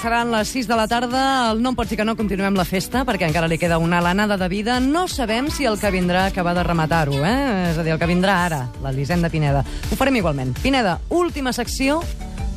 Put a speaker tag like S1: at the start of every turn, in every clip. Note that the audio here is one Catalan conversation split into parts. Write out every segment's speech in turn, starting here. S1: seran les 6 de la tarda. El No em pots dir que no continuem la festa, perquè encara li queda una lanada de vida. No sabem si el que vindrà acaba de rematar-ho, eh? És a dir, el que vindrà ara, l'Elisenda Pineda. Ho farem igualment. Pineda, última secció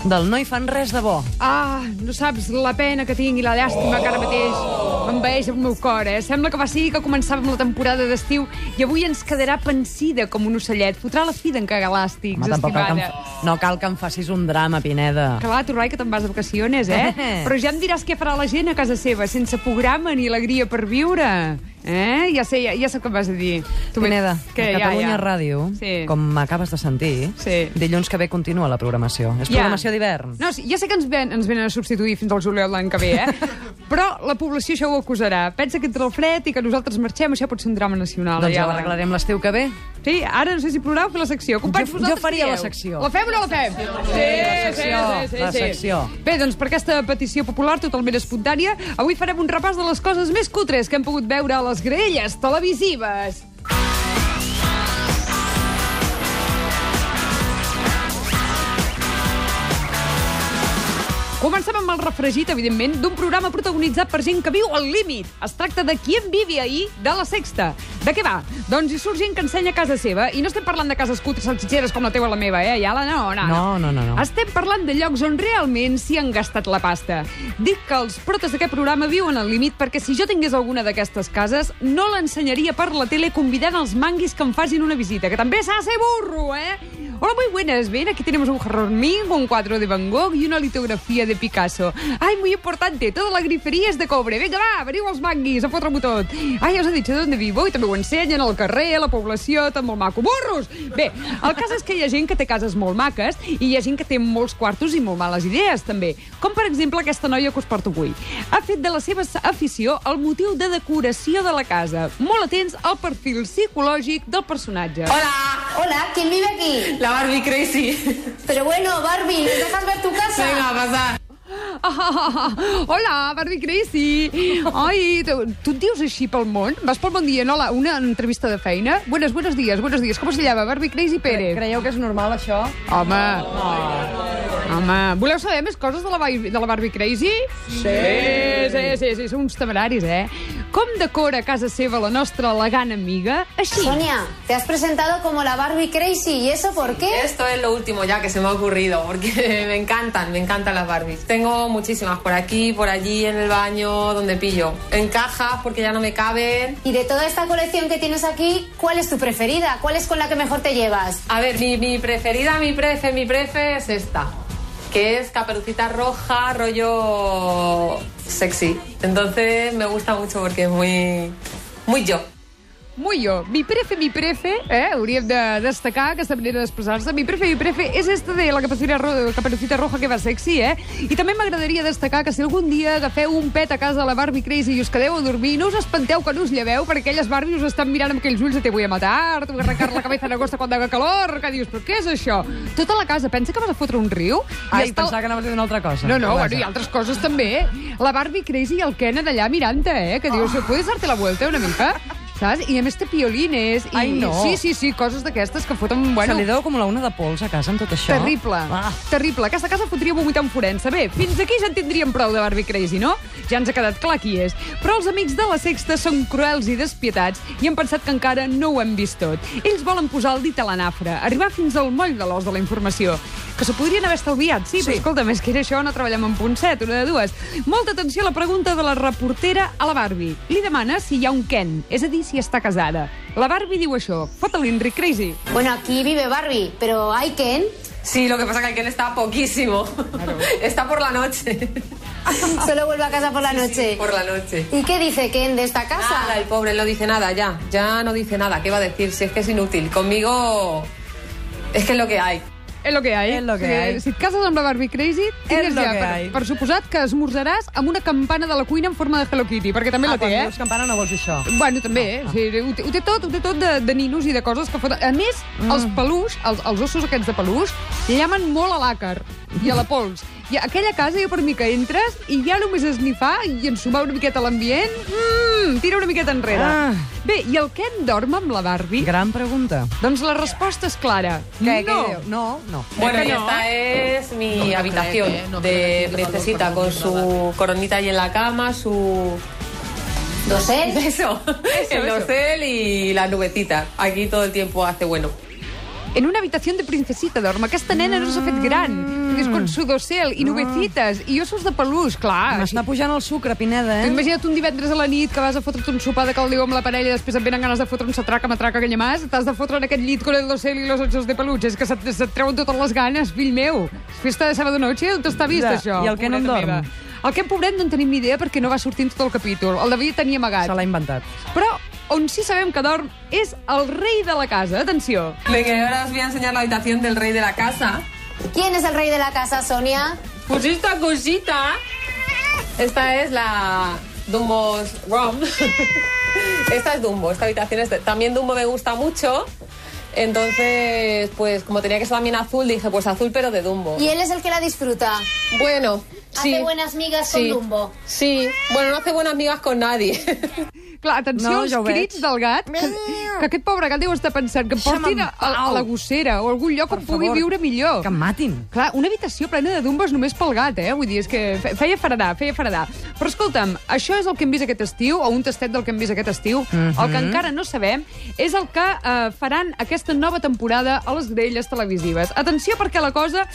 S1: del No hi fan res de bo.
S2: Ah, no saps la pena que tinc i la llàstima que ara mateix m'envaeix el meu cor, eh? Sembla que va ser que començàvem la temporada d'estiu i avui ens quedarà pensida com un ocellet. Fotrà la fi d'en Cagalàstics,
S1: Home, tampoc cal que
S2: estimada.
S1: em... No cal que em facis un drama, Pineda.
S2: Clar, tu, Rai, que te'n vas de vacaciones, eh?
S1: Eh.
S2: Però ja em diràs què farà la gent a casa seva, sense programa ni alegria per viure. Eh? Ja sé, ja, ja sé què em vas a dir.
S1: Tu, Pineda,
S2: que
S1: a
S2: ja,
S1: Catalunya
S2: ja.
S1: Ràdio,
S2: Sí.
S1: com m'acabes de sentir,
S2: Sí.
S1: dilluns que ve continua la programació. És programació d'hivern.
S2: No, sí, ja sé que ens, ven, ens venen a substituir fins al juliol l'any que ve, eh? Però la població això ho acusarà. Pensa que entra el fred i que nosaltres marxem, això pot ser un drama nacional.
S1: Doncs ja ho
S2: la-
S1: arreglarem l'estiu que ve.
S2: Sí, ara no sé si plorau o fer la secció. Companys,
S1: Jo-
S2: vosaltres
S1: jo faria
S2: trieu.
S1: la secció.
S2: La fem o no la fem? Sí,
S1: la secció, la secció.
S2: Bé, doncs per aquesta petició popular totalment espontània, avui farem un repàs de les coses més cutres que hem pogut veure a les grelles televisives. Comencem amb el refregit, evidentment, d'un programa protagonitzat per gent que viu al límit. Es tracta de qui en vivi ahir de la Sexta. De què va? Doncs hi surt gent que ensenya a casa seva, i no estem parlant de cases cutres salsitxeres com la teva o la meva, eh? Ja la no, no,
S1: No, no, no, no.
S2: Estem parlant de llocs on realment s'hi han gastat la pasta. Dic que els protes d'aquest programa viuen al límit perquè si jo tingués alguna d'aquestes cases no l'ensenyaria per la tele convidant els manguis que em facin una visita, que també s'ha de ser burro, eh? Hola, muy buenas. Bien, aquí tenemos un jarrón con un cuadro de Van Gogh y una litografía de Picasso. Ay, muy importante, toda la grifería es de cobre. Vinga, va, Ah, veniu els manguis, a fotre-m'ho tot. Ai, ja us he dit d'on vivo i també ho ensenyen al carrer, a la població, tan molt maco. Burros! Bé, el cas és que hi ha gent que té cases molt maques i hi ha gent que té molts quartos i molt males idees, també. Com, per exemple, aquesta noia que us porto avui. Ha fet de la seva afició el motiu de decoració de la casa. Molt atents al perfil psicològic del personatge.
S3: Hola,
S4: Hola, ¿quién vive aquí?
S3: la Barbie Crazy.
S4: Pero bueno, Barbie, ¿nos dejas ver tu casa?
S3: Venga, pasa.
S2: Ah, hola, Barbie Crazy. Ai, tu, tu et dius així pel món? Vas pel món dient, hola, una entrevista de feina? Buenos, buenos días, buenos días. Com es llama? Barbie Crazy Pérez.
S1: Creieu que és normal, això?
S2: Home, home, voleu saber més coses de la, Bai- de la Barbie Crazy? Sí. Sí, sí, sí, són uns temeraris, eh? Com decora a casa seva la nostra elegant amiga? Així.
S4: Sonia, te has presentado como la Barbie Crazy, ¿y eso por qué?
S3: Esto es lo último ya que se me ha ocurrido, porque me encantan, me encantan las Barbies. Tengo muchísimas por aquí, por allí, en el baño, donde pillo. En cajas, porque ya no me caben.
S4: Y de toda esta colección que tienes aquí, ¿cuál es tu preferida? ¿Cuál es con la que mejor te llevas?
S3: A ver, mi, mi preferida, mi prefe, mi prefe es esta, que es caperucita roja, rollo sexy. Entonces me gusta mucho porque es muy, muy yo.
S2: Muy jo. Mi prefe, mi prefe, eh? hauríem de destacar aquesta manera d'expressar-se. Mi prefe, mi prefe és esta de la caperucita, ro caperucita roja que va sexy, eh? I també m'agradaria destacar que si algun dia agafeu un pet a casa de la Barbie Crazy i us quedeu a dormir, no us espanteu que no us lleveu perquè elles Barbie us estan mirant amb aquells ulls de te voy a matar, te voy a arrencar la cabeza en agosto quan haga calor, que dius, però què és això? Tota la casa, pensa que vas a fotre un riu? i
S1: Ai,
S2: està-
S1: pensava que anaves a dir una altra cosa.
S2: no, no,
S1: Però
S2: bueno,
S1: vaja.
S2: i altres coses també. eh? La Barbie Crazy i el Ken allà mirant-te, eh? Que dius, puedes darte la vuelta una mica? Saps? I a més té piolines. I...
S1: Ai, no.
S2: Sí, sí, sí, coses d'aquestes que foten...
S1: Se
S2: Bueno,
S1: li deu acumular una de pols a casa amb tot això?
S2: Terrible,
S1: Ah.
S2: terrible. Aquesta casa fotria vomitar en forensa. Bé, fins aquí ja en tindríem prou de Barbie Crazy, no? Ja ens ha quedat clar qui és. Però els amics de la Sexta són cruels i despietats i han pensat que encara no ho hem vist tot. Ells volen posar el dit a la nafra, arribar fins al moll de l'os de la informació. Que s'ho podrien haver estalviat, sí, sí, però escolta, més que era això, no treballem en punt set, una de dues. Molta atenció a la pregunta de la reportera a la Barbie. Li demana si hi ha un Ken, és a dir, si està casada. La Barbie diu això, fota-li Enric Crazy.
S4: Bueno, aquí vive Barbie, pero ¿hay Ken?
S3: Sí, lo que pasa es que el Ken está poquísimo. Está por la noche.
S4: Solo vuelve a casa por la noche.
S3: Por la Ah, noche.
S4: ¿Y qué dice Ken de esta
S3: Nada,
S4: casa?
S3: el pobre no dice nada ya. Ya no dice nada. ¿Qué va a decir? Si es que es inútil. Conmigo es que es lo que hay.
S2: És lo que hay.
S1: És lo que
S2: Sí,
S1: hay.
S2: Si et cases amb la Barbie Crazy, tindràs
S1: lo
S2: ja,
S1: que
S2: per,
S1: hay.
S2: per suposat que esmorzaràs amb una campana de la cuina en forma de Hello Kitty, perquè també
S1: Ah,
S2: la té,
S1: quan
S2: eh?
S1: dius Ah, campana no vols dir això.
S2: Bueno, també, eh? O sigui, ho, té, ho té tot, ho té tot de, de ninos i de coses que foten. A més, mm. els peluix, els, els ossos aquests de peluix, llamen molt a l'àcar i a la pols. I a aquella casa, jo per mi que entres, i ja només esnifar i ensumar una miqueta l'ambient... Mm, Mm, tira una miqueta enrere.
S1: Ah.
S2: Bé, i el Ken dorm amb la Barbie?
S1: Gran pregunta.
S2: Doncs la resposta és clara.
S1: Què,
S2: no.
S1: què diu? no, no.
S3: Bueno, y
S2: no.
S3: esta es mi habitación
S5: cree que- no cree
S3: de
S5: que
S3: princesita con su coronita ahí en la cama, su
S4: Dosel.
S3: eso, el
S2: eso.
S3: dosel y la nubecita. Aquí todo el tiempo hace bueno.
S2: En una habitación de princesita dorm. Aquesta nena no s'ha fet gran. Mm. És con su dosel i nubecitas i ossos de peluix, clar.
S1: M'està pujant el sucre, Pineda, eh?
S2: Tu Imagina't un divendres a la nit que vas a fotre't un sopar de caldeu amb la parella i després et venen ganes de fotre un satraca, matraca, aquella mas, t'has de fotre en aquest llit con el dosel i los ochos de peluche. És que se't, se't treuen totes les ganes, fill meu. És Festa de sábado noche, on t'està vist,
S1: Ja,
S2: això?
S1: i el Ken on
S2: Pobreta
S1: dorm?
S2: meva. El Ken, pobret, no en tenim ni idea perquè no va sortir en tot el capítol. El devia tenir amagat.
S1: Se l'ha inventat.
S2: Però on sí sabem que dorm és el rei de la casa. Atenció.
S3: Venga, y ahora os voy a enseñar la habitación del rey de la casa.
S4: ¿Quién es el rey de la casa, Sonia?
S3: Pues esta cosita. Esta es la Dumbo's Rom. Esta es Dumbo, esta habitación es de- También Dumbo me gusta mucho. Entonces, pues como tenía que ser también azul, dije, pues azul pero de Dumbo.
S4: Y él es el que la disfruta.
S3: Bueno, sí.
S4: Hace buenas migas
S3: Sí.
S4: con Dumbo.
S3: Sí, bueno, no hace buenas migas con nadie.
S2: Clar, atenció
S1: No,
S2: als
S1: ja ho veig.
S2: crits del gat, que, que aquest pobre gat deu estar pensant que em
S1: Deixa'm
S2: portin
S1: en
S2: a, a, a la
S1: pau.
S2: gossera o a algun lloc
S1: Per
S2: on pugui
S1: favor,
S2: viure millor.
S1: Que em matin.
S2: Clar, una habitació plena de dumbes només pel gat, eh? Vull dir, és que fe- feia faradar, feia faradar. Però escolta'm, això és el que hem vist aquest estiu, o un tastet del que hem vist aquest estiu. El que encara no sabem és el que eh, faran aquesta nova temporada a les grelles televisives. Atenció, perquè la cosa...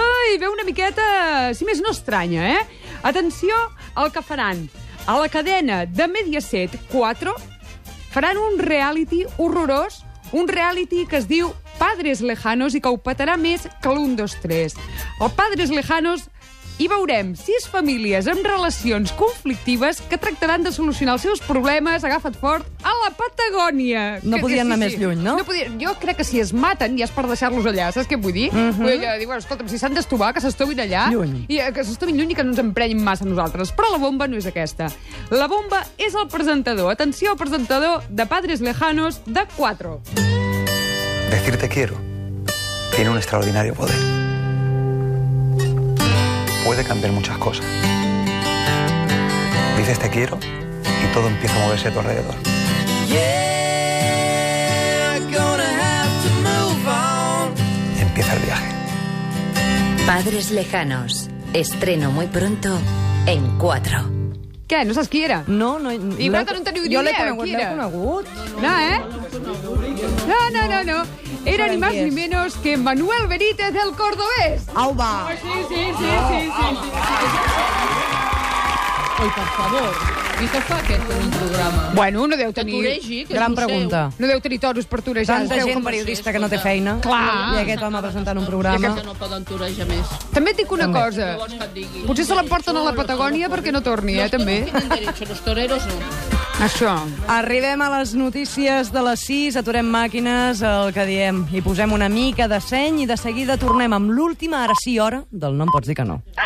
S2: Ai, veu una miqueta... Si més no estranya, eh? Atenció al que faran. A la cadena de Mediaset 4 faran un reality horrorós, un reality que es diu Padres Lejanos i que ho petarà més que l'1, 2, 3. El Padres Lejanos hi veurem sis famílies amb relacions conflictives que tractaran de solucionar els seus problemes, agafa't fort, a la Patagònia.
S1: No
S2: Que-
S1: podien
S2: sí,
S1: anar
S2: sí.
S1: més lluny, no?
S2: no podia... Jo crec que si es maten ja és per deixar-los allà, saps què vull dir? Uh
S5: Mhm.
S2: -huh. Vull dir, que diu, bueno, escolta'm, si s'han d'estovar, que s'estovin allà.
S1: Lluny.
S2: I eh, que s'estovin lluny i que no ens emprenyin massa a nosaltres. Però la bomba no és aquesta. La bomba és el presentador. Atenció al presentador de Padres Lejanos de 4.
S6: Decir te quiero tiene un extraordinario poder. Puede cambiar muchas cosas. Dices te quiero y todo empieza a moverse a tu alrededor. Empieza el viaje.
S7: Padres Lejanos. Estreno muy pronto en 4.
S2: Què, no saps qui era?
S1: No, no...
S2: I vosaltres no en teniu
S1: Jo l'he
S2: idea,
S1: conegut,
S2: qui
S1: l'he
S2: era?
S1: conegut.
S2: No, eh? No, no, no, no. Era ni más ni menos que Manuel Benítez del Cordobés.
S1: Au, va.
S2: Sí, sí, sí, sí, sí.
S5: Oi, per favor, i què fa aquest en un programa?
S2: Bueno, no deu
S5: Que
S2: tenir...
S5: toregi, que és el
S1: Gran
S5: seu.
S1: pregunta.
S2: No deu tenir toros per torejar.
S1: Tanta
S2: es veu
S1: gent
S2: com-
S1: periodista que no té feina.
S2: Clar.
S1: I aquest home presentant un
S5: Que
S1: programa.
S5: no poden torejar més.
S2: També et dic una
S1: També.
S2: cosa.
S5: Què vols que et digui?
S2: Potser se l'emporten a la Patagònia perquè no torni, eh,
S5: Los que
S2: també.
S5: no tienen derecho, los toreros no.
S2: Això.
S1: Arribem a les notícies de les 6, aturem màquines, el que diem, i posem una mica de seny i de seguida tornem amb l'última, ara sí, hora, del No em pots dir que no. Ah!